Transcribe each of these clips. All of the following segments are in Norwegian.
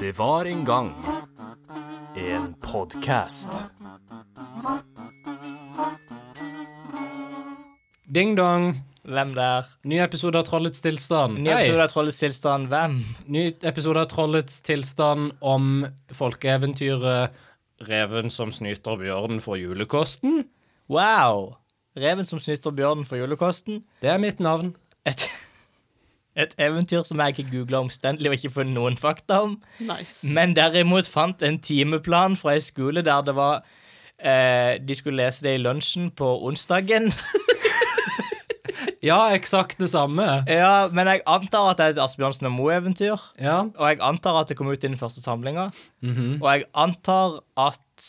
Det var en gang en podkast. Ding dong! Hvem der? Ny episode av Trollets tilstand. Ny episode av Trollets tilstand. Hvem? Ny episode av Trollets tilstand om folkeeventyret Reven som snyter bjørnen for julekosten. Wow! Reven som snyter bjørnen for julekosten. Det er mitt navn. Et, et eventyr som jeg ikke googla omstendelig og ikke funnet noen fakta om. Nice. Men derimot fant en timeplan fra ei skole der det var eh, De skulle lese det i lunsjen på onsdagen. Ja, eksakt det samme. ja, Men jeg antar at det er et Asbjørnsen og Moe-eventyr. Ja. Og jeg antar at det kom ut i den første samlinga. Mhm. Og jeg antar at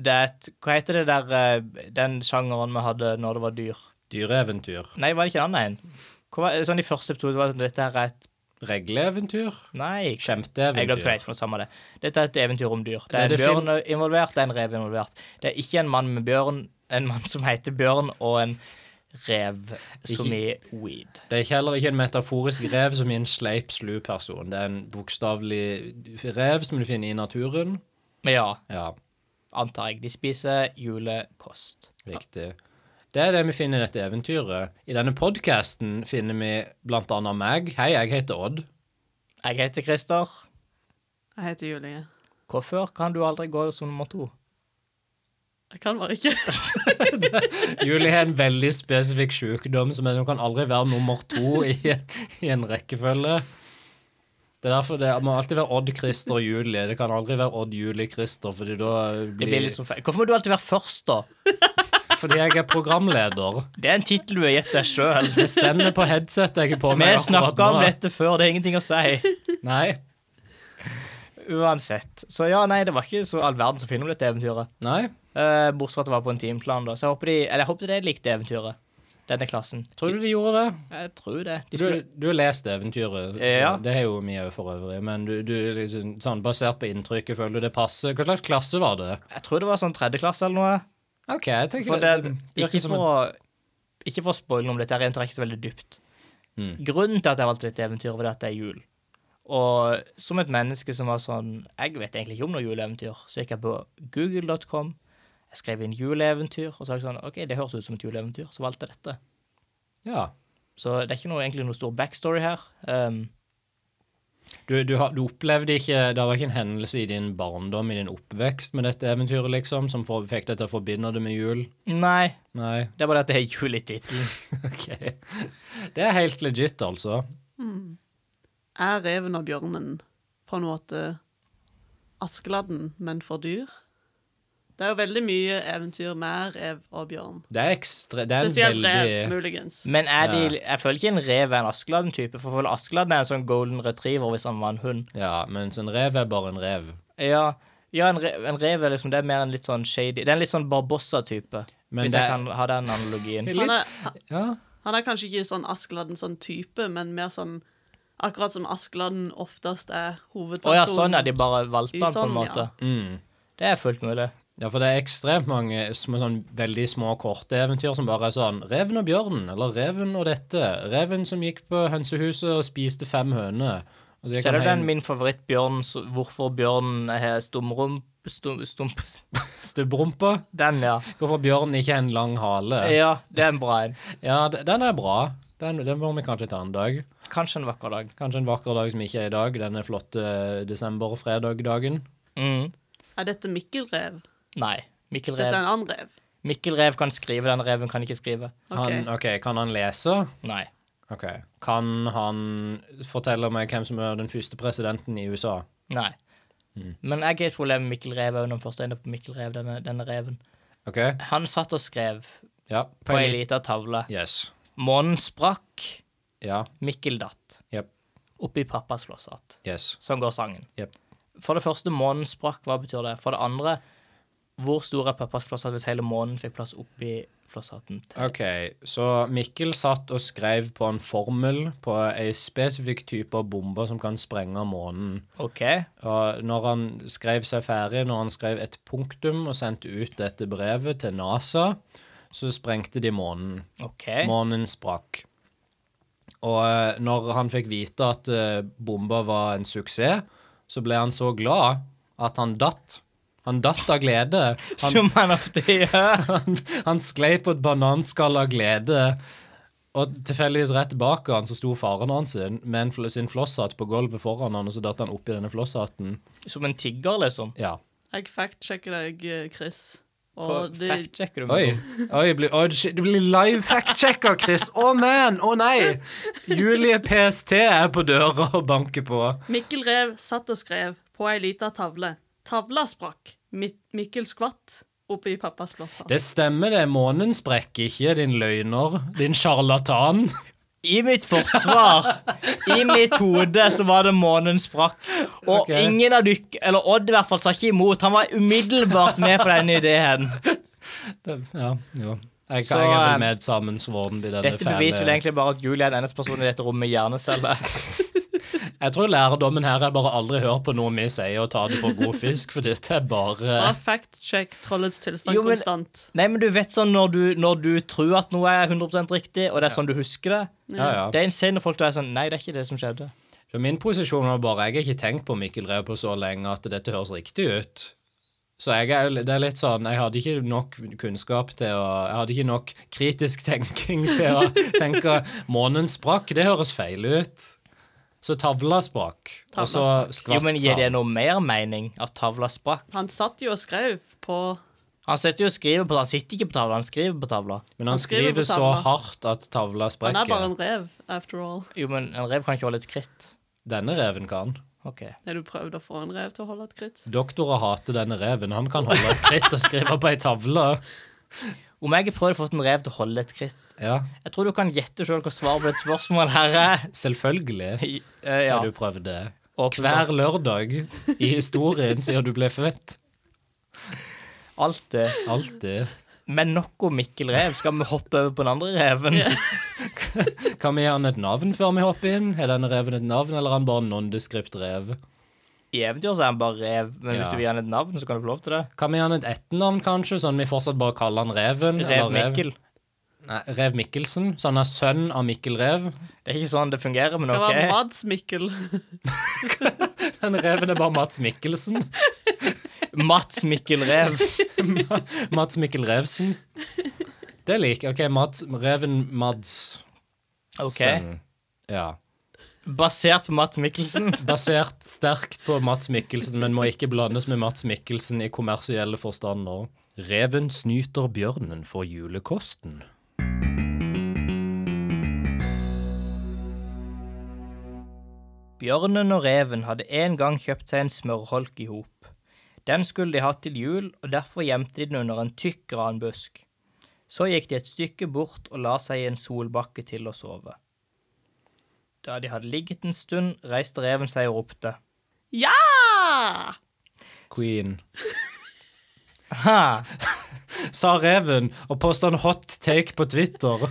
det er et Hva heter det der eh, Den sjangeren vi hadde når det var dyr? Dyreeventyr. Nei, var det ikke en annen en? Hva var- Sånn i første episode var det sånn Dette her er et Regleeventyr. Nei. Jeg glemte hva Skjemteeventyr. det for noe samme det. Dette er et eventyr om dyr. Det Nei, er en det fin- bjørn involvert, det er en rev involvert. Det er ikke en mann med bjørn, en mann som heter Bjørn, og en rev som i weed. Det er ikke- heller ikke en metaforisk rev som i en sleip, slu person. Det er en bokstavelig rev som du finner i naturen. Men ja, Ja, antar jeg. De spiser julekost. Riktig. Det er det vi finner i dette eventyret. I denne podkasten finner vi blant annet meg. Hei, jeg heter Odd. Jeg heter Christer. Jeg heter Julie. Hvorfor kan du aldri gå som nummer to? Jeg kan bare ikke. Julie har en veldig spesifikk sykdom, som er hun kan aldri være nummer to i, i en rekkefølge. Det er derfor det må alltid være Odd, Christer og Julie. Det kan aldri være Odd, Julie, Christer, fordi da Det blir, blir liksom feil. Hvorfor må du alltid være først, da? Fordi jeg er programleder. Det er en tittel du har gitt deg sjøl. Det stender på headsetet jeg er på Vi meg akkurat snakka om nå. dette før, det er ingenting å si. Nei. Uansett. Så ja, nei, det var ikke så all verden som finner om dette eventyret. Nei. Eh, bortsett fra at det var på en timeplan, da. Så jeg håper de, eller jeg håper de likte eventyret. Denne klassen. Tror du de gjorde det? Jeg tror det. De Du, skulle, du har lest eventyret, så Ja. det er jo mye for øvrig, men du, du er liksom, sånn, basert på inntrykket, føler du det passer? Hva slags klasse var det? jeg tror det var sånn tredjeklasse eller noe. Ok, jeg tenker For det, virker Mm. ikke, som for, en- å- ikke for å spoile om dette, her eventyret er ikke så veldig dypt. Mm. Grunnen til at jeg valgte dette eventyret, var at det er jul. Og som et menneske som var sånn Jeg vet egentlig ikke om noe juleeventyr. Så gikk jeg på google.com, jeg skrev inn juleeventyr, og så var jeg sånn OK, det høres ut som et juleeventyr, så valgte jeg dette. Ja. Så det er ikke noe, egentlig noe stor backstory her. Um, Du, du, har, du opplevde ikke Det var ikke en hendelse i din barndom, i din oppvekst med dette eventyret, liksom, som for, fikk deg til å forbinde det med jul? nei, Nei. det er bare at det er jul i tittelen. Ok. Det er helt legit, altså. Er reven og bjørnen på en måte Askeladden, men for dyr? Det er jo veldig mye eventyr med rev og bjørn. Det er ekstre... Det er en Spesielt rev, veldig muligens. Men er de, jeg føler ikke en rev er en Askeladden-type, for jeg føler Askeladden er en sånn golden retriever hvis han var en hund. Ja, mens en rev er bare en rev. Ja, ja en, re, en rev er liksom, det er mer en litt sånn shady Det er en litt sånn Barbossa-type, Men hvis det jeg er- kan ha den analogien. Han er, Ja. han er kanskje ikke sånn Askeladden sånn type, men mer sånn Akkurat som Askeladden oftest er Å hovedpersonen. ja, sånn ja, de bare valgte I han på en sånn, måte. ja. Mm. Det er fullt mulig. Ja, for det er ekstremt mange små, sånn, veldig små, korte eventyr som bare er sånn Reven og bjørnen, eller Reven og dette. Reven som gikk på hønsehuset og spiste fem høner. Altså, Og så gikk Ser du han den hjem- min favorittbjørn, så- hvorfor bjørnen har stumrum... Stum, stump... Stubbrumpa? Den, ja. Hvorfor bjørnen ikke har en lang hale? Ja, det er en bra en. Ja, d- den er bra. Den, den må vi kanskje ta en dag. Kanskje en vakker dag. Kanskje en vakker dag som ikke er i dag. Denne flotte desember-fredag-dagen. Mm. Er dette Mikkelrev? Nei. Mikkel Dette er Rev. en annen rev? Mikkel Rev kan skrive, den reven kan ikke skrive. Ok. Han- OK, kan han lese? Nei. OK. Kan han fortelle meg hvem som er den første presidenten i USA? Nei. Mm. Men jeg har et problem med Mikkel Rev òg, den første enden på Mikkel Rev, denne, denne reven. OK? Han satt og skrev Ja. på ei lita tavle. Yes. Månen sprakk, Ja. Mikkel datt. Jep. Oppi pappas slåsshatt. Yes. Sånn går sangen. Jep. For det første, månen sprakk, hva betyr det? For det andre, hvor stor er pappas flosshatt hvis hele månen fikk plass oppi flosshatten? til- OK, så Mikkel satt og skrev på en formel på ei spesifikk type av bombe som kan sprenge månen. OK. Og når han skrev seg ferdig, når han skrev et punktum og sendte ut dette brevet til NASA, så sprengte de månen. ok. Månen sprakk. Og eh, når han fikk vite at eh, bomba var en suksess, så ble han så glad at han datt. Han datt av glede. Han, Som man ofte gjør. han, han sklei på et bananskall av glede. Og tilfeldigvis rett bak han så sto faren hans sin, med en fl sin flosshatt på gulvet foran han, og så datt han oppi denne flosshatten. Som en tigger, liksom. Ja. Jeg fact-sjekker deg, eh, Chris. Og Og det, fact-sjekker du Oi, meg. oi, bli, oi shit, du blir live fact-checker, Chris. Å, man! Å, nei! Julie PST er på døra og banker på. Mikkel Rev satt og skrev på ei lita tavle. Tavla sprakk. Mi Mikkel skvatt oppi pappas flosshatt. Det stemmer, det. Månen sprekker ikke, din løgner. Din sjarlatan. I mitt forsvar, i mitt hode, så var det månen sprakk. Og Ok. ingen av dykk, eller Odd i hvert fall, sa ikke imot. Han var umiddelbart med på denne ideen. Ja, jo. Jeg, Så, kan, jeg er eh, vel med sammensvoren i denne Dette beviser vel fæle egentlig bare at Julie er den eneste personen i dette rommet med hjernecelle. Jeg tror lærdommen her er bare aldri hør på noe vi sier og ta det for god fisk, for dette er bare Bare fact-check trollets tilstand Jo, men- konstant. Nei, men du vet sånn når du, når du tror at noe er 100 riktig, og det er sånn du husker det. Ja, ja. Det er insane når folk da er sånn Nei, det er ikke det som skjedde. Så min posisjon var bare Jeg har ikke tenkt på Mikkel Rev på så lenge at dette høres riktig ut. Så jeg er, jo- det er litt sånn Jeg hadde ikke nok kunnskap til å Jeg hadde ikke nok kritisk tenking til å tenke Månen sprakk, det høres feil ut. Så tavla sprakk. Tavla og så Jo, skvatt men Gir det sand. noe mer mening at tavla sprakk? Han satt jo og skrev på Han sitter jo og skriver på Han sitter ikke på tavla, han skriver på tavla. Men Han han skriver på skriver så tavla. hardt at tavla Han er bare sprekker. en rev, after all. Jo, men en rev kan ikke holde et kritt. Denne reven kan. OK. Har du prøvd å få en rev til å holde et kritt? Doktorer hater denne reven. Han kan holde et kritt og skrive på ei tavle. Om jeg har prøvd å få en rev til å holde et kritt Ja, Jeg tror du kan gjette sjøl hva svaret på et spørsmål her er. selvfølgelig I- eh, ja. har du prøvd det. Og Hver lørdag i historien siden du ble født. alt det. Alltid. Men nok om Mikkel Rev. Skal vi hoppe over på den andre reven? Kan vi gi han et navn før vi hopper inn? Er denne reven et navn, eller er han bare en nondescript rev? I eventyr så er han bare rev, men hvis Ja. du vil gi han et navn, så kan du få lov til det. Kan vi gi han et etternavn, kanskje, sånn vi fortsatt bare kaller han Reven? eller Rev Mikkel. Nei, rev Mikkelsen. Så han er sønn av Mikkel Rev. Det er ikke sånn det fungerer, men Det var OK. Mads Mikkel. Den reven er bare Mats Mikkelsen. Mats Mikkel Rev. Mats Mikkel Revsen. Det liker jeg. OK, Mats, Reven Mads. Ok. Sen. Ja. Basert på Mats Mikkelsen. Basert sterkt på Mats Mikkelsen, men må ikke blandes med Mats Mikkelsen i kommersielle forstander. Reven snyter bjørnen for julekosten. Bjørnen og reven hadde en gang kjøpt seg en smørholk i hop. Den skulle de hatt til jul, og derfor gjemte de den under en tykk granbusk. Så gikk de et stykke bort og la seg i en solbakke til å sove. Da de hadde ligget en stund, reiste reven seg og ropte. Ja! Queen. Ha! Sa reven og posta en hot take på Twitter.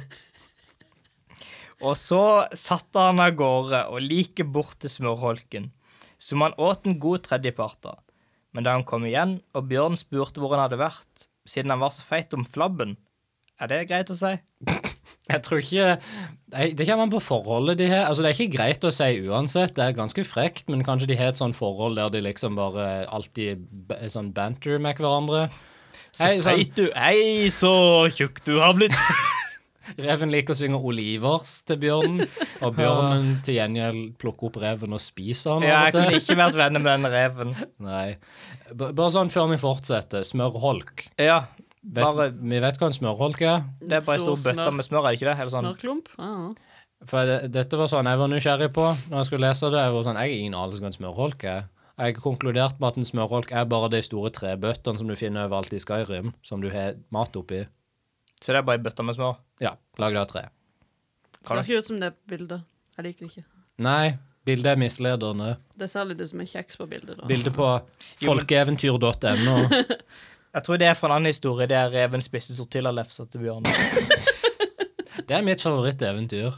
Og så satte han av gårde og like bort til smørholken, som han åt en god tredjepart av. Men da han kom igjen, og bjørnen spurte hvor han hadde vært, siden han var så feit om flabben Er det greit å si? Jeg tror ikke Nei, Det kommer an på forholdet de har. Altså, det er ikke greit å si uansett, det er ganske frekt, men kanskje de har et sånt forhold der de liksom bare alltid b- er sånn banter med hverandre. Så Hei, sånn- feit du Hei, så tjukk du har blitt. Reven liker å synge olivers til bjørnen, og bjørnen til gjengjeld plukker opp reven og spiser den. av Ja, og jeg til. kunne ikke vært venner med den reven. Nei. B bare sånn før vi fortsetter. Smørholk. Ja, Vet, Bare- Vi vet hva en smørholk er. Det er bare ei stor bøtte med smør, er det ikke det? Eller sånn. Snørrklump? Ja. For det, dette var sånn jeg var nysgjerrig på når jeg skulle lese det. Jeg var sånn, jeg har ingen anelse om hva en smørholk er. Jeg konkluderte med at en smørholk er bare de store trebøttene som du finner overalt i Skyrim, som du har mat oppi. Så det er bare ei bøtte med smør. Ja, lagd av tre. Det ser ikke ut som det bildet. Jeg liker det ikke. Nei, bildet er misledende. Det ser litt ut som en kjeks på bildet. da. Bildet på folkeeventyr.no. Jeg tror det er fra en annen historie der reven spiste tortillalefser til bjørnen. Det er mitt favoritteventyr.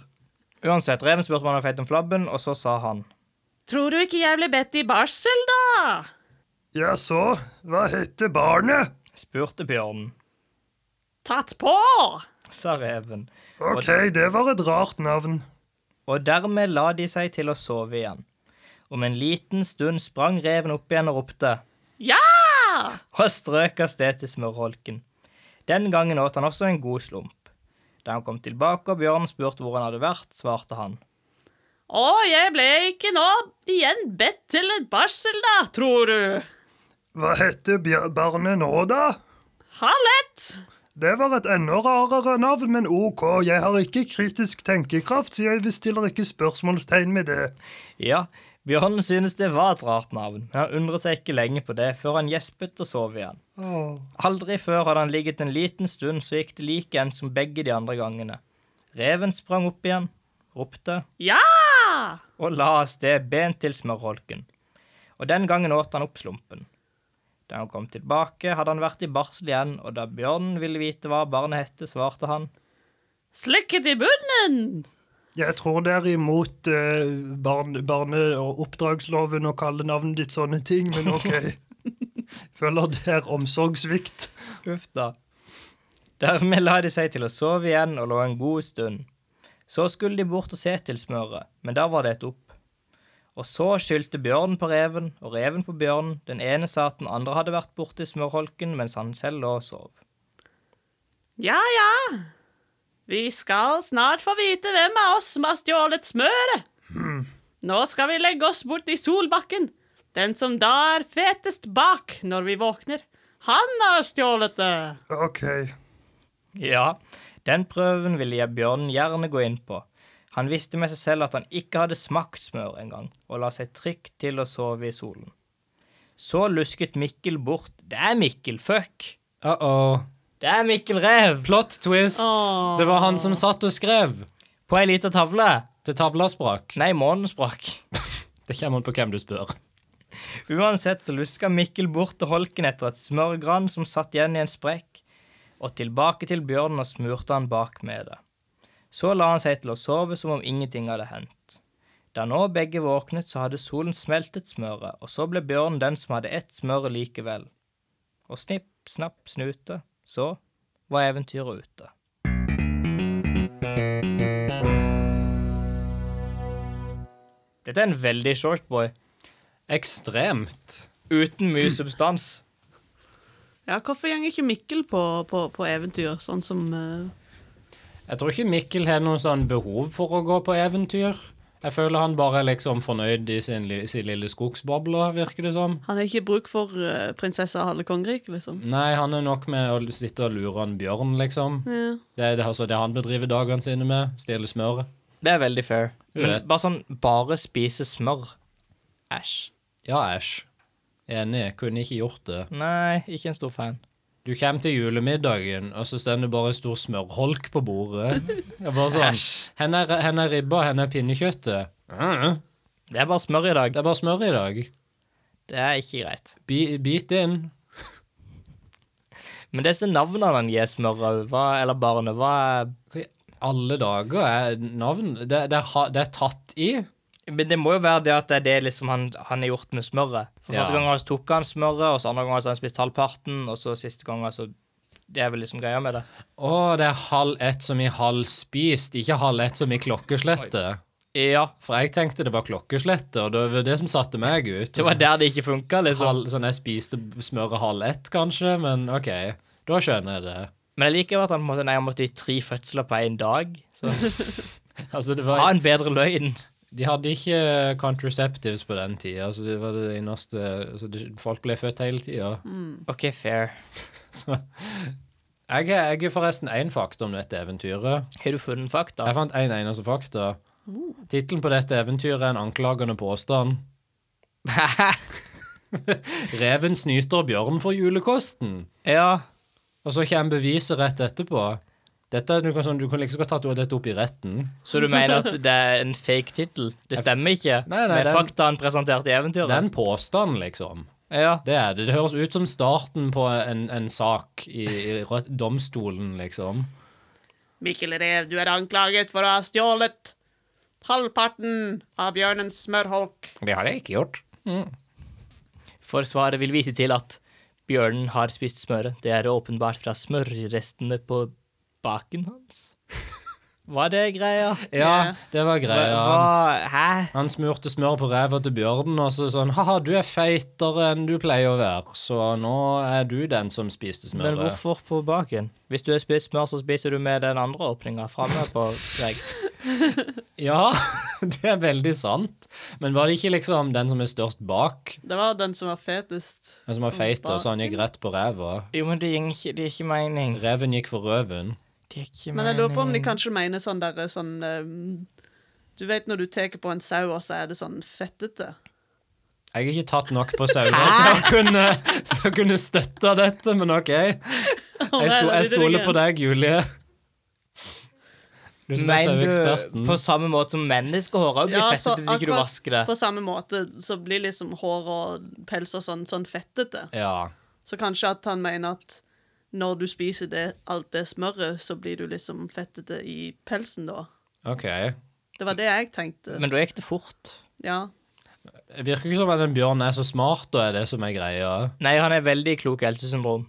Uansett, reven spurte om han var feit om flabben, og så sa han Tror du ikke jeg ble bedt i barsel, da? Jaså, hva heter barnet? Spurte bjørnen, Tatt på! sa reven, Ok, det var et rart navn. og dermed la de seg til å sove igjen. Om en liten stund sprang reven opp igjen og ropte Ja! og strøk av sted til smørholken. Den gangen åt han også en god slump. Da han kom tilbake og bjørnen spurte hvor han hadde vært, svarte han. Å, jeg ble ikke nå igjen bedt til et barsel, da, tror du. Hva heter bjør- barnet nå, da? Hallett! Det var et enda rarere navn, men OK, jeg har ikke kritisk tenkekraft, så jeg stiller ikke spørsmålstegn med det. Ja, bjørnen synes det var et rart navn, men han undret seg ikke lenge på det før han gjespet og sov igjen. Aldri før hadde han ligget en liten stund, så gikk det like enn som begge de andre gangene. Reven sprang opp igjen, ropte Ja! og la av sted bent til smørholken. Og den gangen åt han opp slumpen. Da han kom tilbake, hadde han vært i barsel igjen, og da bjørnen ville vite hva barnet hette, svarte han. Slikket i bunnen! Jeg tror det er imot eh, barn, barne- og oppdragsloven å kalle navnet ditt sånne ting, men OK. Føler det er omsorgssvikt. Uff da. Dermed la de seg til å sove igjen og lå en god stund. Så skulle de bort og se til smøret, men da var det et opp. Og så skyldte bjørnen på reven, og reven på bjørnen. Den ene sa at den andre hadde vært borte i smørholken mens han selv lå og sov. Ja, ja. Vi skal snart få vite hvem av oss som har stjålet smøret. Nå skal vi legge oss bort i solbakken. Den som da er fetest bak når vi våkner, han har stjålet det. OK. Ja, den prøven ville jeg bjørnen gjerne gå inn på. Han visste med seg selv at han ikke hadde smakt smør engang, og la seg trygt til å sove i solen. Så lusket Mikkel bort Det er Mikkel, fuck! Uh-oh. Det er Mikkel Rev! Plot twist. Åh. Det var han som satt og skrev. På ei lita tavle. Til tavla sprakk. Nei, månen sprakk. Det kommer an på hvem du spør. Uansett så luska Mikkel bort til holken etter et smørgran som satt igjen i en sprekk, og tilbake til bjørnen og smurte han bak med det. Så la han seg til å sove som om ingenting hadde hendt. Da nå begge våknet, så hadde solen smeltet smøret, og så ble bjørnen den som hadde ett smør likevel. Og snipp, snapp, snute, så var eventyret ute. Dette er en veldig shortboy. Ekstremt. Uten mye substans. Ja, Hvorfor går ikke Mikkel på, på, på eventyr, sånn som eh, Jeg tror ikke Mikkel har noe sånn behov for å gå på eventyr. Jeg føler han bare er liksom fornøyd i sin, li sin lille skogsboble, virker det som. Han har ikke bruk for eh, prinsesse av halve kongeriket, liksom. Nei, han er nok med å sitte og lure en bjørn, liksom. Ja. Det er det, altså, det han bedriver dagene sine med. Stjele smør. Det er veldig fair. Men Rett. bare sånn bare spise smør. Æsj. Ja, æsj. Enig. Kunne ikke gjort det. Nei, ikke en stor fan. Du kommer til julemiddagen, og så står det bare en stor smørholk på bordet. Jeg bare sånn, Henne er, hen er ribba, henne er pinnekjøttet. Mm. Det er bare smør i dag. Det er bare smør i dag. Det er ikke greit. Bi, bit inn. Men disse navnene han gir smøret, hva, eller barnet, hva er Hva i alle dager er navn Det, det, er ha- det er tatt i. Men det må jo være det at det er det liksom han, han er gjort med smøret. For Ja. Første gang han tok han smøret, og så andre gang har han spist halvparten, og så siste gang altså Det er vel liksom greia med det. Å, det er halv ett som i halv spist, ikke halv ett som i klokkeslettet. Ja. For jeg tenkte det var klokkeslettet, og det var det som satte meg ut. Det var der det ikke funka, liksom. Halv, sånn jeg spiste smøret halv ett, kanskje, men OK. Da skjønner jeg det. Men jeg liker jo at han på en måte Nei, han måtte i tre fødsler på én dag. Så Altså, det ha var, en bedre løgn. de hadde ikke contraceptives på den tida, så det var det eneste altså, det, Folk ble født hele tida. OK, fair. Så jeg, er- jeg er forresten én fakta om dette eventyret. Har du funnet fakta? Jeg fant én en eneste fakta. Tittelen på dette eventyret er en anklagende påstand. Reven snyter bjørn for julekosten. ja. Og så kommer beviset rett etterpå. Dette, er- du, kan, sånn, du kan like så godt tatt dette opp i retten. Så du mener at det er en fake tittel? Det stemmer ikke? Nei, nei, med den- fakta han presenterte i Det er eventyret? en påstand, liksom. Ja. Det er det. Det høres ut som starten på en, en sak i, i rett- domstolen, liksom. Mikkel Rev, du er anklaget for å ha stjålet halvparten av bjørnens smørholk. Det har jeg ikke gjort. For svaret vil vise til at bjørnen har spist smøret. Det er åpenbart fra smørrestene på baken hans. Var det greia? Ja, det var Hva, greia. Han, hva- hæ? han smurte smør på ræva til bjørnen og så sånn Haha, du er feitere enn du pleier å være, så nå er du den som spiste Men smøret. hvorfor på baken? Hvis du har spist smør, så spiser du med den andre åpninga framme på deg. Ja, det er veldig sant. Men var det ikke liksom den som er størst bak, Det var den som var fetest. den som var feit, og så han Mm. gikk rett på ræva? Jo, men det gir ikke, det gir ikke mening. Reven gikk for røven. Det gir ikke mening. Men jeg lurer på om de kanskje mener sånn derre sånn ehm, Du vet når du tar på en sau, og så er det sånn fettete? Jeg har ikke tatt nok på sauer til å kunne, til å kunne støtte dette, men OK. Jeg, sto, jeg stoler på deg, Julie. Du som er Mener du saueeksperten. på samme måte som menneskehår òg blir Ja, så fettet hvis ikke du akkurat vasker det? På samme måte så blir liksom hår og pels og sånn sånn fettete. Ja. Så kanskje at han mener at når du spiser det, alt det smøret, så blir du liksom fettete i pelsen da. OK. Det var det jeg tenkte. Men da gikk det fort. ja. Det virker ikke som at en bjørn er så smart, og er det som er greia. Nei, han er veldig klok helsesyndrom.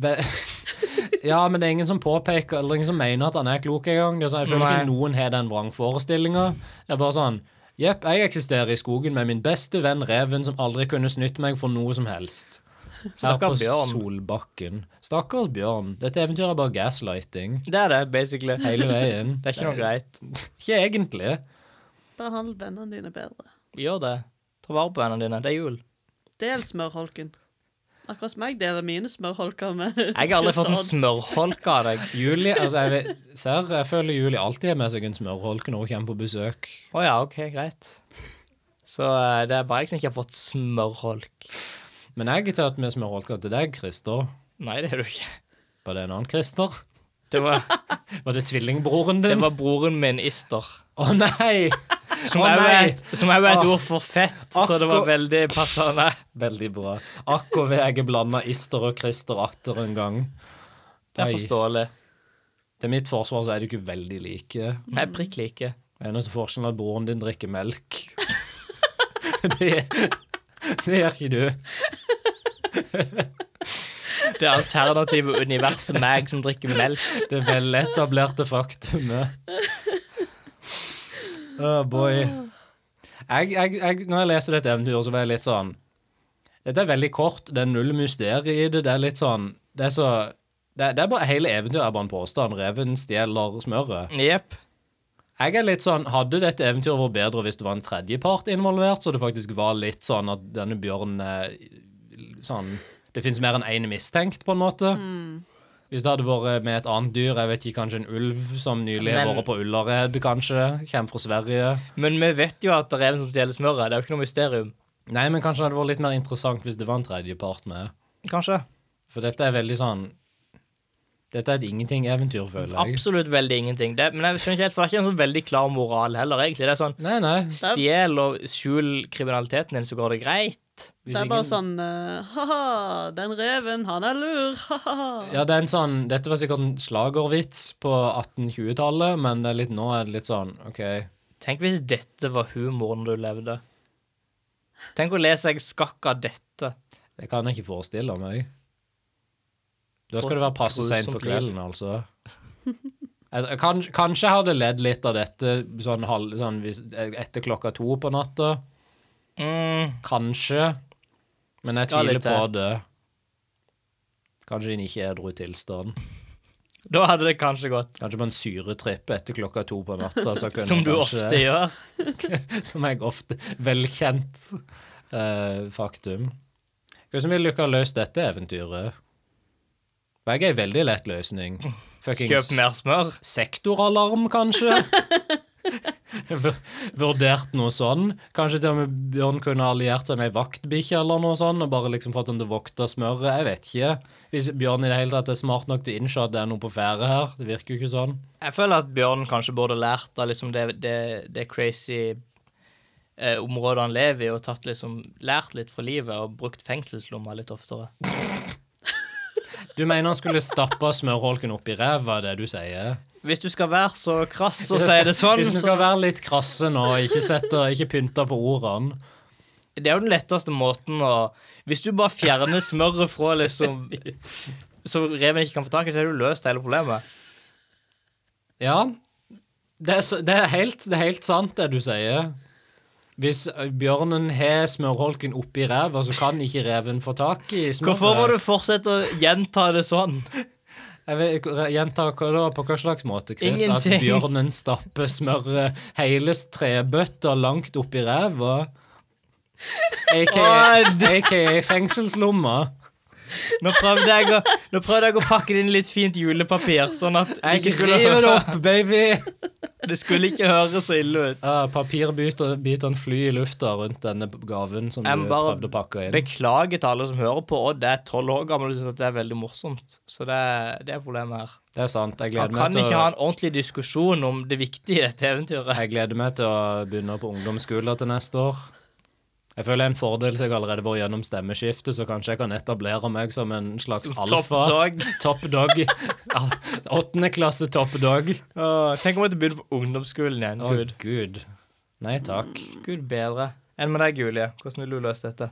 Ve- Ja, men det er ingen som påpeker eller ingen som mener at han er klok engang. Det er sånn, Jeg føler ikke Nei. noen har den vrangforestillinga. Det er bare sånn Jepp, jeg eksisterer i skogen med min beste venn reven, som aldri kunne snytt meg for noe som helst. Her på Stakkars bjørn. Solbakken. Stakkars bjørn. Dette eventyret er bare gaslighting Det er det, basically. Det hele veien. er ikke noe greit. Ikke egentlig. Behandl vennene dine bedre. Gjør det. Ta vare på vennene dine. Det er jul. Del smørholken. Akkurat som jeg deler mine smørholker med Jeg har aldri fått en Shazad. smørholke av deg. Julie, altså jeg vet, Serr, jeg føler Julie alltid har med seg en smørholke når hun kommer på besøk. Å ja, OK, greit. Så eh, det er bare jeg som ikke har fått smørholk. Men jeg har tatt med smørholker til deg, Christer. Nei, det er du ikke. Var det en annen Christer? Det var, Var det tvillingbroren det din? Å var broren min, Ister. nei! Som Å, er jo nei! et, som er jo et Åh. ord for fett, så det var Akko- veldig passende. Veldig bra. Akkurat jeg er blanda Ister og Christer atter en gang. Det er Oi. forståelig. Til mitt forsvar så er de ikke veldig like. Nei, prikk like. Eneste forskjellen er at broren din drikker melk. det, det gjør ikke du. Det alternative universet meg som drikker melk. Det veletablerte faktumet. Oh boy. Jeg, jeg, jeg, når jeg leser dette eventyret, så var jeg litt sånn Dette er veldig kort, det er null mysterium i det. Det er litt sånn Det er så det, det er bare Hele eventyret er bare en påstand. Reven stjeler smøret. Jepp. Jeg er litt sånn, Hadde dette eventyret vært bedre hvis det var en tredjepart involvert, så det faktisk var litt sånn at denne bjørnen eh, sånn, Det fins mer enn én mistenkt, på en måte. Hvis det hadde vært eh, med et annet dyr, jeg vet ikke, kanskje en ulv som nylig har Men- vært på Ullared, kanskje. Kommer fra Sverige. Men vi vet jo at det er reven som stjeler smøret. Det er jo ikke noe mysterium. Nei, men kanskje det hadde vært litt mer interessant hvis det var en tredjepart med. Kanskje. For dette er veldig sånn Dette er et ingenting-eventyr, føler jeg. Absolutt veldig ingenting. Det, men jeg skjønner ikke helt, for det er ikke en sånn veldig klar moral heller, egentlig. Det er sånn Nei, nei. Stjel og skjul kriminaliteten din, så går det greit. Det er bare sånn eh, Ha-ha, den reven, han er lur, ha-ha. Ja, det er en sånn, Dette var sikkert en slagervits på 1820-tallet, men det er litt, nå er det litt sånn OK. Tenk hvis dette var humoren du levde. Tenk å lese jeg skakk av dette. Det kan jeg ikke forestille meg. Da skal det være passe seint på kvelden, altså. Jeg, jeg kan, kanskje jeg hadde ledd litt av dette sånn, halv, sånn hvis, etter klokka to på natta. Mm, Kanskje. Men jeg Skal tviler litt på til. det. Kanskje i en ikke edru tilstand. da hadde det kanskje gått. Kanskje på en syretripp etter klokka to på natta. Så kunne Som du kanskje, ofte gjør. Som jeg ofte Velkjent eh, faktum. Hvordan vil dere løse dette eventyret? For jeg er en veldig lett løsning. Fuckings Kjøp mer smør. sektoralarm, kanskje? Vur- Vurdert noe sånn. Kanskje til og med Bjørn kunne alliert seg med ei vaktbikkje eller noe sånn, og bare liksom fått han til å vokte smøret. Jeg vet ikke. Hvis Bjørn i det hele tatt er smart nok til å innse at det er noe på ferde her. Det virker jo ikke sånn. Jeg føler at Bjørn kanskje burde lært av liksom det, det, det crazy eh, området han lever i, og tatt liksom, lært litt fra livet og brukt fengselslomma litt oftere. Du mener han skulle stappa smørholken opp i ræva, det du sier? Hvis du skal være så krass og si det sånn, Hvis vi så skal være litt krasse nå, ikke, sette, ikke pynte på ordene Det er jo den letteste måten å Hvis du bare fjerner smøret fra liksom Så reven ikke kan få tak i, så har du løst hele problemet. Ja, Det er, så- det, er helt, det er helt sant, det du sier. Hvis eh, bjørnen har smørholken oppi ræva, så kan ikke reven få tak i smøret. Hvorfor må du fortsette å gjenta det sånn? Jeg vet, ikke, re- gjenta hva da, på hva slags måte, Chris? Ingenting. At bjørnen stapper smøret hele trebøtter langt oppi ræva? AKA, Odd. AKA fengselslomma. Nå prøvde jeg å, nå prøvde jeg å pakke det inn i litt fint julepapir, sånn at det Jeg ikke skulle, river det opp, baby! det skulle ikke høres så ille ut. Ja, Papirbitene flyr i lufta rundt denne gaven som Jeg du bare prøvde å pakke inn. Beklager til alle som hører på. Odd er tolv år gammel og syns det er veldig morsomt. Så det, er- det er problemet her. Det er sant. Jeg Han gleder, kan meg til ikke ha å, en ordentlig diskusjon om det viktige i dette eventyret. jeg gleder meg til å begynne på ungdomsskolen til neste år. Jeg føler det er en fordel så jeg allerede var gjennom stemmeskiftet, så kanskje jeg kan etablere meg som en slags Topp alfa. dag. Top dog. Ja, Åttende klasse top dog. Åh, Tenk om jeg måtte begynne på ungdomsskolen igjen. Å, Gud, gud. Nei takk. Gud bedre. Enn med deg, Julie. Hvordan vil du løse dette?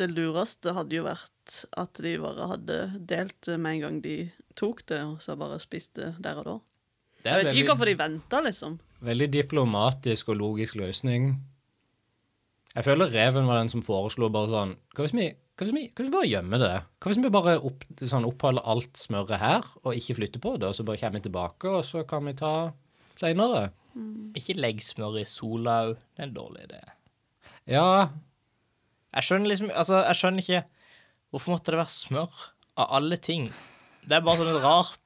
Det lureste hadde jo vært at de bare hadde delt det med en gang de tok det, og så bare spiste der og da. Det Jeg er vet ikke veldig, hvorfor de venta, liksom. veldig diplomatisk og logisk løsning. Jeg føler Reven var den som foreslo bare sånn Hva hvis vi, hva hvis vi, hva hvis vi bare gjemmer det? Hva hvis vi bare opp, sånn, oppholder alt smøret her, og ikke flytter på det, og så bare kommer vi tilbake, og så kan vi ta seinere? Ikke legg smør i sola òg. Det er en dårlig idé. Ja, Jeg skjønner liksom Altså, jeg skjønner ikke Hvorfor måtte det være smør av alle ting? Det er bare sånn et rart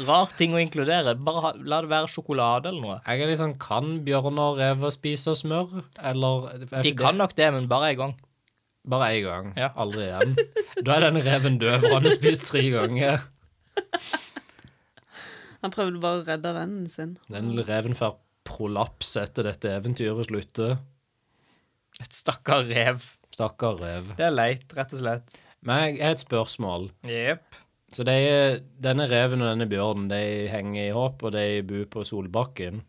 Rar ting å inkludere. Bare ha, la det være sjokolade eller noe. jeg er litt sånn Kan bjørner og rever spise smør? Eller De kan nok det, men bare en gang. Bare én gang. Ja. Aldri igjen. Da er den reven død, for han har spist tre ganger. Han prøvde bare å redde vennen sin. Den reven får prolaps etter dette eventyret slutter. Et stakkar rev. Stakkar rev. Det er leit, rett og slett. Men jeg jeg har et spørsmål. Jepp. Så de, denne reven og denne bjørnen de henger i håp, og de bor på Solbakken.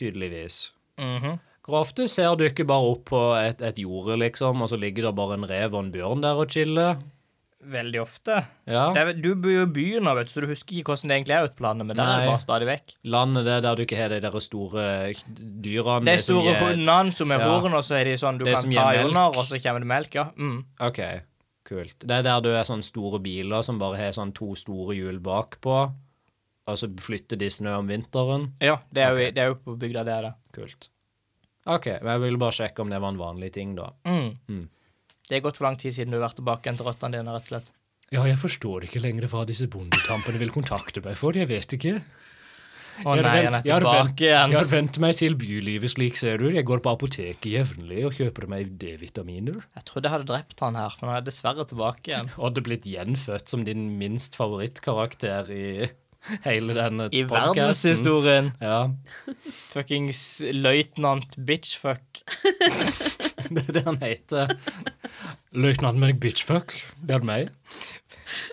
Tydeligvis. Mhm. Hvor ofte ser du ikke bare opp på et, et jorde, liksom, og så ligger det bare en rev og en bjørn der og chiller? Veldig ofte. Ja. Det er, vel- du bor jo i byen nå, vet du, så du husker ikke hvordan det egentlig er ute på landet, men der er det Nei. bare stadig vekk. Landet det der du ikke har de der store dyrene Det er de som store gir- hundene som er Ja. horene, og så er de sånn du Det kan som ta gir i melk. under, og så kommer det melk, ja. Mm. Ok, kult. Det er der du er sånne store biler som bare har sånn to store hjul bakpå, og så flytter de snø om vinteren. Ja, det er, jo, det er jo på bygda, det er det. Kult. Ok, men jeg ville bare sjekke om det var en vanlig ting da. Mm. Mm. Det er gått for lang tid siden du har vært tilbake igjen til røttene dine, rett og slett. Ja, jeg forstår ikke lenger hva disse bondetampene vil kontakte meg for, jeg vet ikke. Å nei, han er jeg har vent- tilbake igjen. Jeg har vent meg til bylivet slik, ser du. Jeg går på apoteket jevnlig og kjøper meg D-vitaminer. Jeg trodde jeg hadde drept han her, men han er dessverre tilbake igjen. Og hadde blitt gjenfødt som din minst favorittkarakter i hele denne I podcasten. verdenshistorien. Ja, Fuckings løytnant bitchfuck. Det er det han heter. Løytnant med bitchfuck. Det er meg.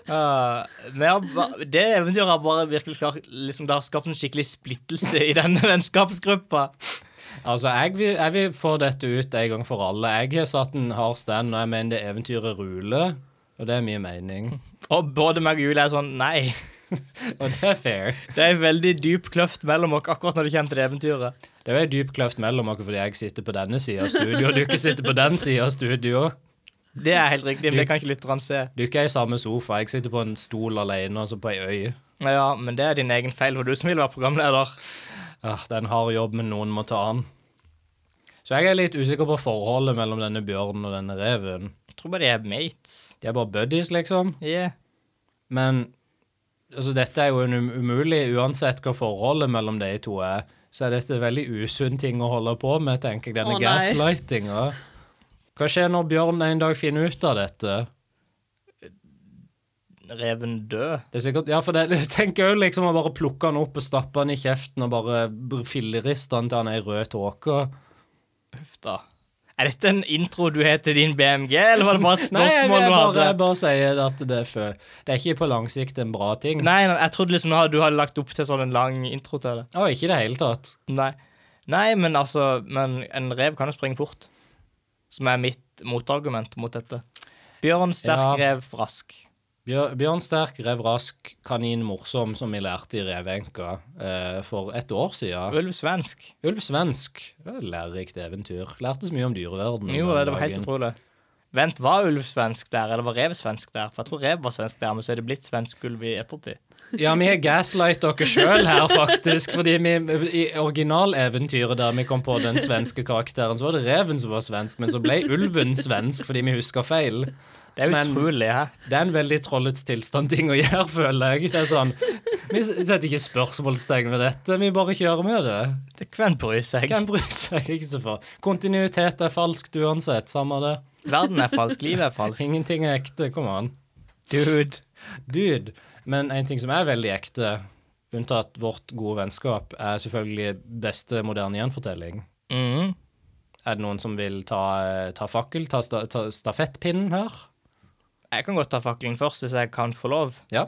Ja, men jeg har ba- det eventyret har bare virkelig klart liksom Det har skapt en skikkelig splittelse i denne vennskapsgruppa. Altså, jeg vil, jeg vil få dette ut en gang for alle. Jeg har satt en hard stand når jeg mener det eventyret ruler, og det er min mening. Og både meg og Julie er sånn Nei. Og det er fair. Det er en veldig dyp kløft mellom oss akkurat når det kommer til det eventyret. Det er jo en dyp kløft mellom dere fordi jeg sitter på denne sida av studio, og dere sitter på den sida av studio. Det er helt riktig, men det kan ikke lytterne se. Dere er i samme sofa. Jeg sitter på en stol alene, altså på ei øy. Ja, men det er din egen feil, for du som vil være programleder. Ah, det er en hard jobb, men noen må ta den. Så jeg er litt usikker på forholdet mellom denne bjørnen og denne reven. Jeg tror bare de er mates. De er bare buddies, liksom. Yeah. Men altså, dette er jo en um- umulig Uansett hva forholdet mellom de to er, så er dette en veldig usunn ting å holde på med, tenker jeg, denne Å, nei. gaslightinga. Hva skjer når Bjørn en dag finner ut av dette? Reven død. Det er sikkert, ja, for det, jeg tenker jo liksom å bare plukke han opp og stappe han i kjeften og bare br- filleriste han til han er ei rød tåke. Uff da. Er dette en intro du har til din BMG, eller var det bare et Nei, jeg, jeg, spørsmål du bare, hadde? jeg bare sier at det er, fø- det er ikke på lang sikt en bra ting. Nei, nei, jeg trodde liksom nå hadde- du hadde lagt opp til sånn en lang intro til det. Å, ikke i det hele tatt. Nei. Nei, men altså Men en rev kan jo springe fort. Som er mitt motargument mot dette. Bjørn, sterk Ja. rev, rask. Bjør, Bjørn Sterk, rev rask, kanin morsom, som vi lærte i Revenka eh, for et år siden. Ulv svensk. Ulv svensk. Det er et Lærerikt eventyr. Lærte så mye om dyreverden. Jo, den det, det var helt dagen. utrolig. Vent, var ulv svensk der, eller var rev svensk der? For jeg tror rev var svensk der, men så er det blitt svensk ulv i ettertid. Ja, vi har gaslight dere sjøl her, faktisk. Fordi vi, i originaleventyret der vi kom på den svenske karakteren, så var det reven som var svensk, men så ble ulven svensk fordi vi huska feil. Det er Som en- utrolig, hæ? Det er en veldig trollets tilstand-ting å gjøre, føler jeg. Det er sånn, Vi setter ikke spørsmålstegn ved dette, vi bare kjører med det. Det Hvem bryr seg? Hvem bryr seg ikke så for? Kontinuitet er falskt uansett, samme det. Verden er falsk, livet er falskt. Ingenting er ekte, kom an. Dude. Dude. Men en ting som er veldig ekte, unntatt vårt gode vennskap, er selvfølgelig beste moderne gjenfortelling. Mhm. Er det noen som vil ta, eh, ta fakkel, ta, sta, ta stafettpinnen her? Jeg kan godt ta fakkelen først, hvis jeg kan få lov. Ja.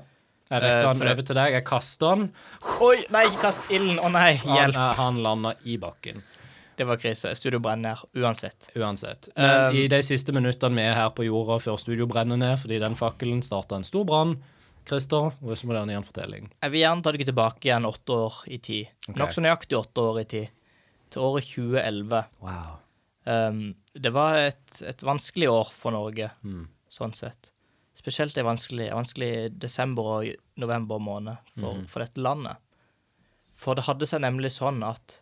Jeg Eh, rekker for den det- over til deg, jeg kaster den. Oi, nei, ikke kast ilden! Å nei, Han, hjelp. eh, han lander i bakken. Det var krise. Studio brenner ned, uansett. Uansett. Men Um, i de siste minuttene vi er her på jorda før studio brenner ned, fordi den fakkelen starta en stor brann, Christer, og så må det være en gjenfortelling. Jeg vil gjerne ta dere tilbake igjen åtte år i tid. Nokså nøyaktig åtte år i tid. Til året 2011. Wow. Um, det var et, et vanskelig år for Norge, sånn sett. Spesielt det vanskelig, vanskelig desember og november måned for, for dette landet. For det hadde seg nemlig sånn at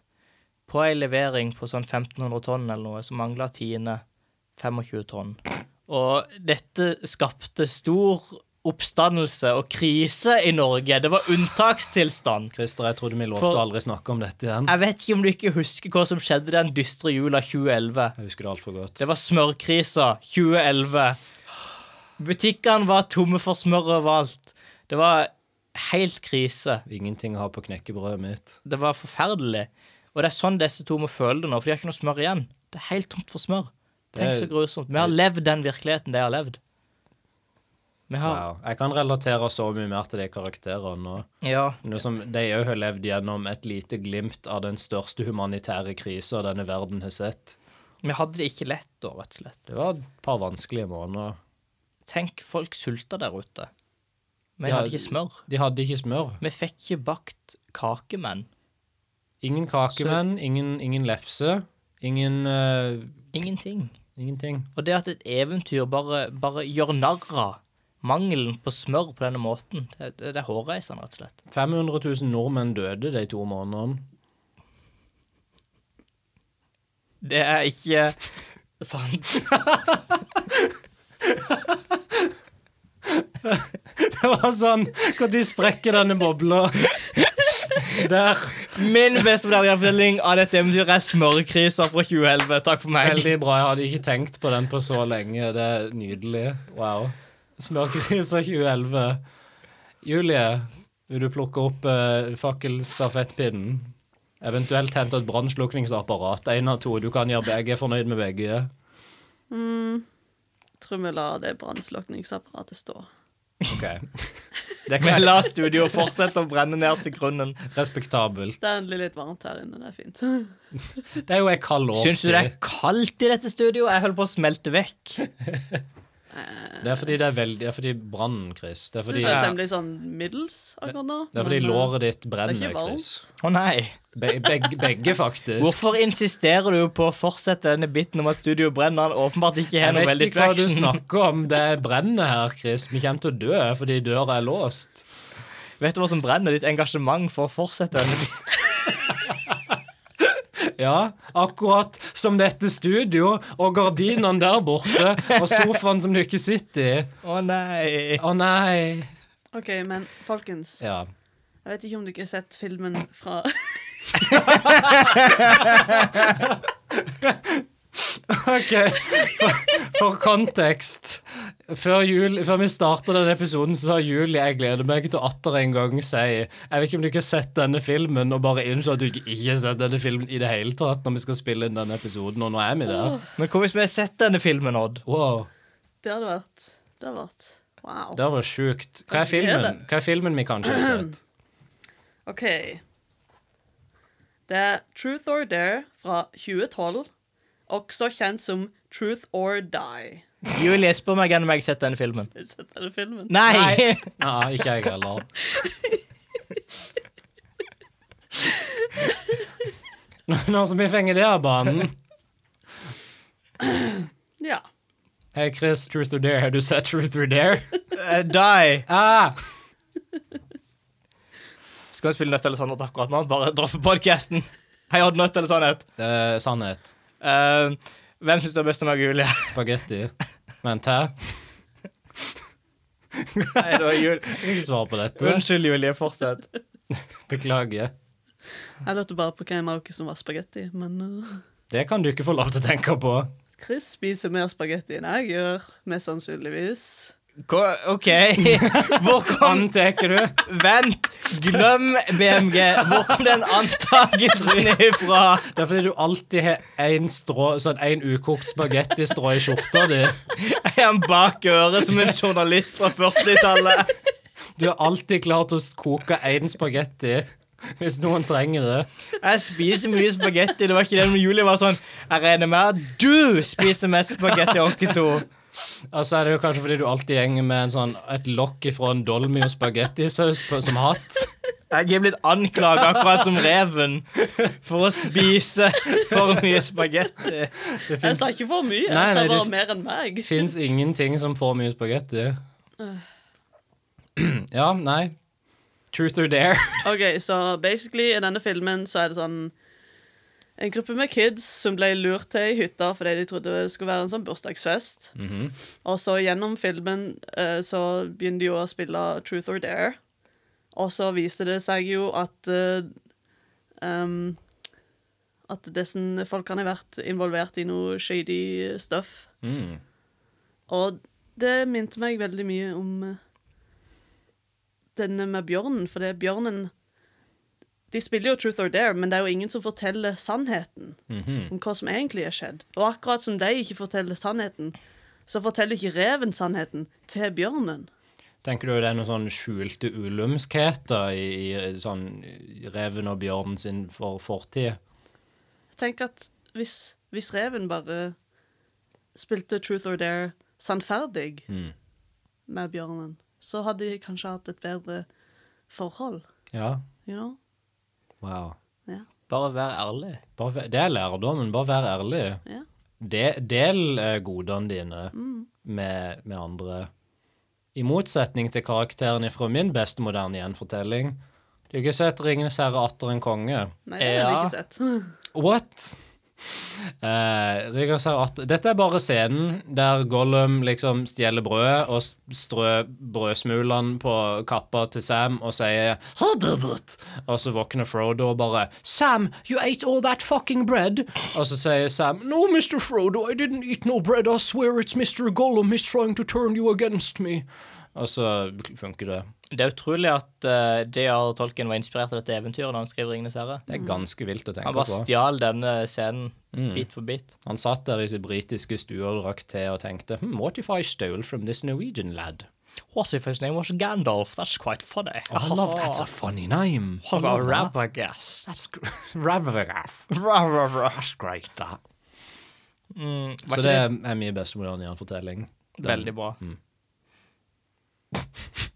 på ei levering på sånn 1500 tonn eller noe, så mangla Tine 25 tonn. Og dette skapte stor oppstandelse og krise i Norge. Det var unntakstilstand. Christer, jeg trodde vi lovte For- å aldri snakke om dette igjen. Jeg vet ikke om du ikke husker hva som skjedde den dystre jula 2011. Jeg husker det altfor godt. Det var smørkrisa 2011. Butikkene var tomme for smør overalt. Det var helt krise. Ingenting å ha på knekkebrødet mitt. Det var forferdelig. Og det er sånn disse to må føle det nå, for de har ikke noe smør igjen. Det er helt tomt for smør. Det Tenk er- så grusomt. Vi har levd den virkeligheten de har levd. Vi har Wow. Jeg kan relatere så mye mer til de karakterene nå. Ja. Noe som De òg har levd gjennom et lite glimt av den største humanitære krisa denne verden har sett. Vi hadde det ikke lett da, rett og slett. Det var et par vanskelige måneder. Tenk, folk sulta der ute. Vi Ja. hadde ikke smør. De hadde ikke smør. Vi fikk ikke bakt kakemenn. Ingen kakemenn, ingen, ingen lefse, ingen eh, Ingenting. Ingenting. Og det at et eventyr bare, bare gjør narr av mangelen på smør på denne måten, det, det, det er hårreisende, rett og slett. 500 000 nordmenn døde de to månedene. Det er ikke sant. Det var sånn Når sprekker denne bobla? Der. Min beste modellgjenfortelling av dette eventyret er smørkrisa fra 2011. Takk for meg. Veldig bra. Jeg hadde ikke tenkt på den på så lenge. Det er nydelig. Wow. Smørkrisa 2011. Julie, vil du plukke opp eh, fakkelstafettpinnen? Eventuelt hente et brannslukningsapparat. Én av to. Du kan gjøre begge. Jeg er fornøyd med begge. Mm. Tror vi lar det brannslukningsapparatet stå. Ok. Det kan jeg la studio fortsette å brenne ned til grunnen. Respektabelt. Det er endelig litt varmt her inne. Det er fint. Det er jo ei kald årstid. Syns du det er kaldt i dette studio? Jeg holder på å smelte vekk. Det er fordi det er veldig Det er fordi brannen, Chris. Det er Syns fordi, det er Ja. temmelig sånn middels akkurat nå. det er fordi men, eh, låret ditt det er brenner, ikke varmt. Chris. Å nei. Be, begge, begge, faktisk. Hvorfor insisterer du på å fortsette denne biten om at studio brenner? Han åpenbart ikke har Jeg noe vet veldig ikke hva du traction. snakker om. Det brenner her, Chris. Vi kommer til å dø fordi døra er låst. Vet du hva som brenner? Ditt engasjement for å fortsette denne Ja, akkurat som dette studio og gardinene der borte og sofaen som du ikke sitter i. Å nei. Å nei. OK, men folkens. Ja. Jeg vet ikke om dere har sett filmen fra OK. For, for kontekst. Før, jul, før vi starta denne episoden, så sa Julie jeg gleder meg til å atter en gang si Jeg vet ikke om du ikke har sett denne filmen, og bare innså at du ikke ikke har sett denne filmen i det hele tatt når vi skal spille inn denne episoden, og nå er vi der. Men hva hvis vi har sett denne filmen, Odd? Wow. Det hadde vært Det hadde vært Wow. Det var sjukt. Hva er filmen Hva er filmen vi kanskje har sett? OK. Det er Truth or Dare fra 2012, også kjent som Truth or Die. Julie spør meg igjen om jeg har sett denne filmen. Har du sett denne filmen? Nei! Ja, ikke jeg heller. Noen som vil fenge det av banen? Ja. Hei, Chris, Truth or Dare, har du sett Truth or Dare? Eh, Die! Ah, Skal vi spille Nødt eller sannhet akkurat nå? Bare droppe podkasten. Hei, Odd Nødt eller sannhet. eh, sannhet. Eh, hvem syns du er best om meg og Julie? Spagetti. Vent her. Nei, det var Jul. Jeg kan ikke svare på dette. Unnskyld, Julie. Fortsett. Beklager. Jeg lurte bare på hvem av dere som var spagetti, men eh, Det kan du ikke få lov til å tenke på. Chris spiser mer spagetti enn jeg gjør, mest sannsynligvis. Hva, OK. Hvor kom Anteker du? Vent! Glem BMG. Hvor kom den antakelsen ifra? Det er fordi du alltid har en, strå, sånn en ukokt spagettistrå i skjorta di. Er han bak øret som en journalist fra 40-tallet? Du er alltid klar til å koke én spagetti hvis noen trenger det. Jeg spiser mye spagetti. Det var ikke det, men Julie var sånn Jeg regner med at du spiser mest spagetti, onkel To. Og så er det jo kanskje fordi du alltid gjenger med en sånn, et lokk ifra en dolmio spagettisaus på- som hatt. Jeg er blitt anklaga akkurat som reven for å spise for mye spagetti. Det Jeg fins sa ikke for mye, Nei, jeg sa nei, bare du- mer enn meg. Fins ingenting som får mye spagetti. Ja, nei. Truth or dare. Ok, så basically i denne filmen så er det sånn En gruppe med kids som ble lurt til ei hytte fordi de trodde det skulle være en sånn bursdagsfest. Og så gjennom filmen eh, så begynner de jo å spille Truth or Dare. Og så viser det seg jo at eh, um, At disse folkene har vært involvert i noe shady stuff. Mm. Og det minte meg veldig mye om eh, denne med bjørnen, for det er bjørnen De spiller jo Truth or Dare, men det er jo ingen som forteller sannheten om hva som egentlig er skjedd. Og akkurat som de ikke forteller sannheten, så forteller ikke reven sannheten til bjørnen. Tenker du det er noen sånn skjulte ulumskheter i, i sånn reven og bjørnen sin for fortid? Jeg tenker at hvis, hvis reven bare spilte Truth or Dare sannferdig Mm. med bjørnen, så hadde de kanskje hatt et bedre forhold, Ja. you know? Wow. Bare vær ærlig. Bare, væ- det er lærdommen. Bare vær ærlig. Ja. De, del eh, godene dine med, med andre. I motsetning til karakteren fra min beste moderne gjenfortelling. Du har ikke sett 'Ringenes herre atter en konge'? Nei, det har jeg Ja. ikke sett. What? Eh, Ringenes herre atter Dette er bare scenen der Gollum liksom stjeler brød og s- strør brødsmulene på kappa til Sam og sier "How did it?" Og så våkner Frodo og bare Sam, you ate all that fucking bread. Og så sier Sam No, Mr. Frodo, I didn't eat no bread. I swear it's Mr. Gollum. He's trying to turn you against me. Og så funker det. Det er utrolig at uh, J.R. Tolkien var inspirert av dette eventyret når han skrev 'Ringenes herre'. Det er ganske vilt å tenke Mm. Han bare på. stjal denne scenen Mm. bit for bit. Han satt der i sin britiske stue og drakk te og tenkte hmm, What if I stole from this Norwegian lad? What if his name was Gandalf? That's quite funny. I love That's a funny name. What about Rabagast? That's gr- Raveragaff. Ra, ra, ra. That's great, that. Mm, var Så ikke det det, er mye beste moderne jernfortelling. veldig bra? Mm.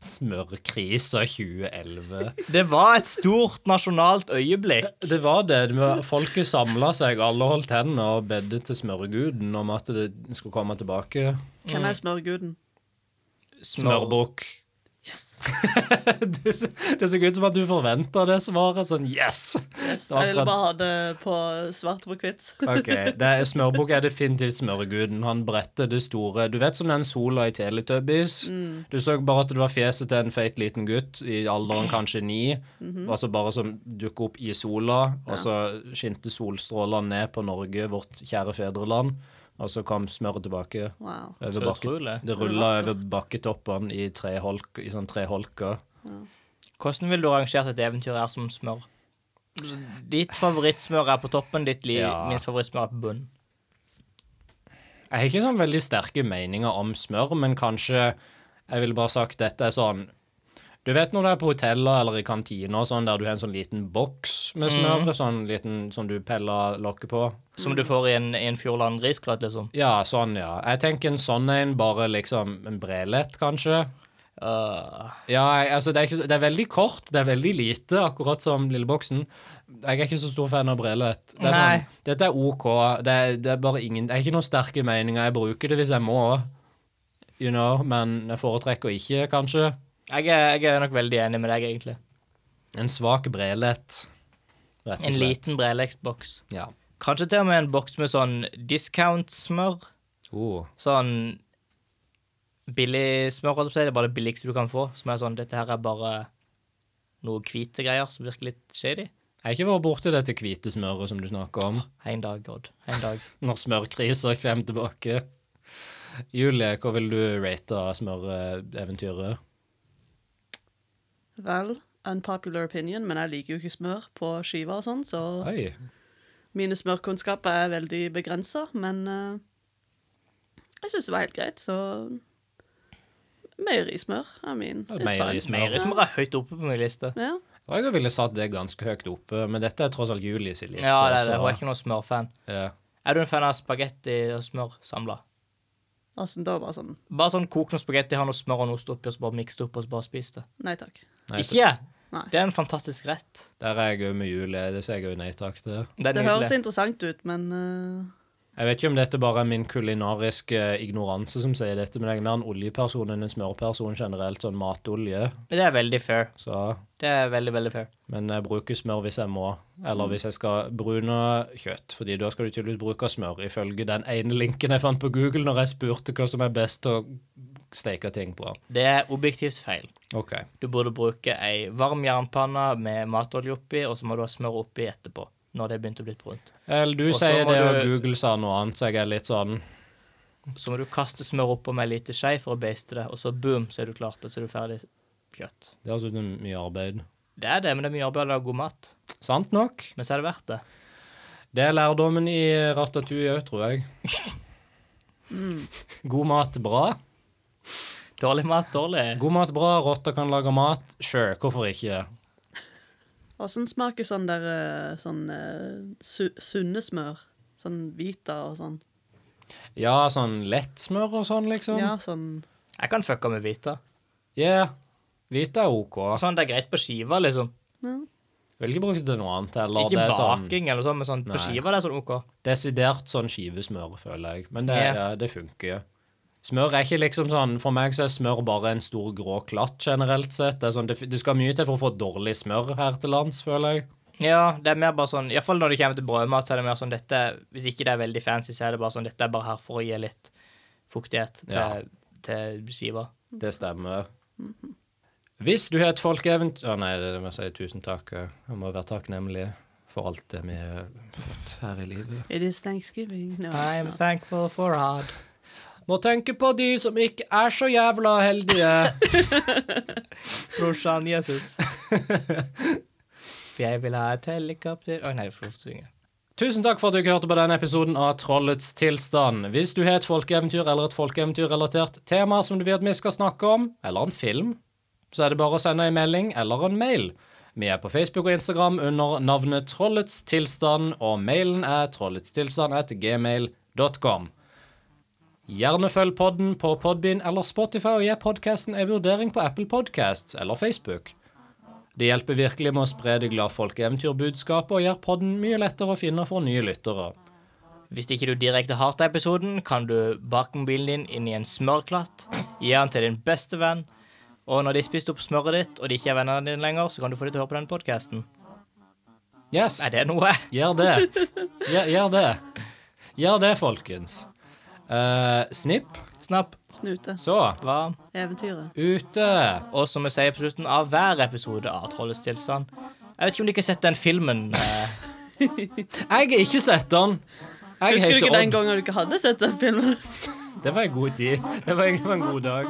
Smørkrisa 2011. Det var et stort nasjonalt øyeblikk. Det var det. det var, folket samla seg, alle holdt hendene og bedde til smørguden om at det skulle komme tilbake. Hvem er smørguden? Smørbukk. Yes! det er så- det er så godt som at du forventer det svaret. Sånn yes! yes. Det var Jeg ville akkurat- bare ha det på svart på hvitt. Ok, det er, Smørbukk er definitivt smørguden. Han bretter det store. Du vet som den sola i Teletubbies. Du så bare at det var fjeset til en feit liten gutt i alderen kanskje ni, og så bare som dukket opp i sola, og så skinte solstrålene ned på Norge, vårt kjære fedreland, og så kom smøret tilbake. Wow. Over Så bakke, utrolig. det rulla over bakketoppene i, tre holk, i sånn tre holker. Hvordan ville du rangert et eventyr her som smør? Ditt favorittsmør er på toppen, ditt li Ja. minst favorittsmør er på bunnen. Jeg har ikke sånn veldig sterke meninger om smør, men kanskje jeg ville bare sagt dette er sånn Du vet når du er på hoteller eller i kantiner og sånn, der du har en sånn liten boks med smør, sånn liten som du peller lokket på. Som du får i en, i en Fjordland risgrøt, liksom. Ja, sånn, ja. Jeg tenker en sånn en, bare liksom en brelett, kanskje. Øh, Ja, jeg, altså, det er, ikke, så- det er veldig kort, det er veldig lite, akkurat som lille boksen. Jeg er ikke så stor fan av brelett. Det er Nei. sånn, dette er OK, det er, det er bare ingen, det er ikke noen sterke meninger. Jeg bruker det hvis jeg må, you know, men jeg foretrekker ikke, kanskje. jeg, er, jeg er nok veldig enig med deg, egentlig. En svak brelett, rett og slett. En liten brelektboks. Ja. Kanskje til og med en boks med sånn discount-smør. Oh. Sånn billig smør, holdt jeg på å si. Det er bare det billigste du kan få. Som er sånn Dette her er bare noe hvite greier som virker litt shady. Jeg har ikke vært borti dette hvite smøret som du snakker om. En dag, Odd. En dag. når smørkrisa kommer tilbake. Julie, hva vil du rate av smøreventyret? Vel, unpopular opinion, men jeg liker jo ikke smør på skiva og sånn, så Oi. mine smørkunnskaper er veldig begrensa, men eh, jeg syns det var helt greit, så Meierismør er min. Ja, It's fine. meierismør. Meierismør er høyt oppe på min liste. Ja. Jeg ville satt det ganske høyt oppe, men dette er tross alt Julies liste. Ja, det er det. så- Hun er ikke noen smørfan. Ja. Er du en fan av spagetti og smør samla? Altså, da var det sånn Bare sånn kok noe spagetti, ha noe smør og noe ost oppi, og så bare miks det opp, og så bare spis det. Nei takk. Nei, ikke? Nei. Det er en fantastisk rett. Der er jeg òg med Julie. Det sier jeg òg nei takk til. Det er Det høres nydelig. interessant ut, men eh, Jeg vet ikke om dette bare er min kulinariske eh, ignoranse som sier dette, men jeg er mer en oljeperson enn en smørperson generelt, sånn matolje. Det er veldig fair. Så Det er veldig, veldig fair. Men jeg bruker smør hvis jeg må, eller hvis jeg skal brune kjøtt. fordi da skal du tydeligvis bruke smør, ifølge den ene linken jeg fant på Google når jeg spurte hva som er best til å steke ting på. Det er objektivt feil. OK. Du burde bruke ei varm jernpanne med matolje oppi, og så må du ha smør oppi etterpå. Når det begynte å bli brunt. Eller du Og så sier må det, og du- Google sa noe annet, så jeg er litt sånn Så må du kaste smør oppå med ei lita skei for å beiste det, og så boom, så er du klart, og så er du ferdig kjøtt. Det høres ut som mye arbeid. Det er det, men det er mye arbeid å lage god mat. Sant nok. Men så er det verdt det. Det er lærdommen i Ratatouille òg, tror jeg. God mat bra. Dårlig mat, dårlig. God mat bra, rotter kan lage mat. Sure, hvorfor ikke? åssen smaker sånn der eh, sånn eh, su sunne smør? Sånn Vita og sånn. Ja, sånn lett smør og sånn, liksom. Ja, sånn Jeg kan fucka med hvita. Yeah. Hvite er OK. Sånn, det er greit på skiva, liksom. ja. Vil ikke bruke det til noe annet heller. Ikke det er sånn baking eller sånn, men sånn, på Nei. skiva det er sånn OK. desidert sånn skivesmør, føler jeg. Men det, Ja. ja, det funker. Smør er ikke liksom sånn For meg så er smør bare en stor grå klatt, generelt sett. Det, er sånn, det, det skal mye til for å få dårlig smør her til lands, føler jeg. Ja, det er mer bare sånn Iallfall når det kommer til brødmat, så er det mer sånn dette Hvis ikke det er veldig fancy, så er det bare sånn dette er bare her for å gi litt fuktighet til, Ja. til skiva. Det stemmer. Hvis du har et folkeeventyr Å nei, det må jeg si tusen takk. Jeg må være takknemlig for alt det vi har fått her i livet. It is thanksgiving. No, I'm it's not. thankful for hard. Må tenke på de som ikke er så jævla heldige. Brorsan Jesus. Jeg vil ha et helikopter Å nei, jeg får lov til å synge. Tusen takk for at du hørte på denne episoden av Trollets tilstand. Hvis du har et folkeeventyr eller et folkeeventyrrelatert tema som du vil at vi skal snakke om, eller en film, så er det bare å sende en melding eller en mail. Vi er på Facebook og Instagram under navnet Trollets tilstand, og mailen er trolletstilstand.gmail.com. Gjerne følg podden på Podbean eller Spotify, og gi podkasten en vurdering på Apple Podcasts eller Facebook. Det hjelper virkelig med å spre det glade folkeeventyrbudskapet og gjør podden mye lettere å finne for nye lyttere. Hvis ikke du direkte hater episoden, kan du bake mobilen din inn i en smørklatt, gi den til din beste venn, og når de har spist opp smøret ditt, og de ikke er vennene dine lenger, så kan du få dem til å høre på den podkasten. Yes, Er det noe? gjør det. Gjør, gjør det. Gjør det, folkens. Eh, snipp. Snapp. Snute. Så, Hva? Eventyret. ute. Og som vi sier på slutten av hver episode av Trollets tilstand Jeg vet ikke om dere har sett den filmen. eh, Jeg har ikke sett den. Jeg Husker du ikke heter den Odd. gangen du ikke hadde sett den filmen? Det var en god tid. Det var egentlig en god dag.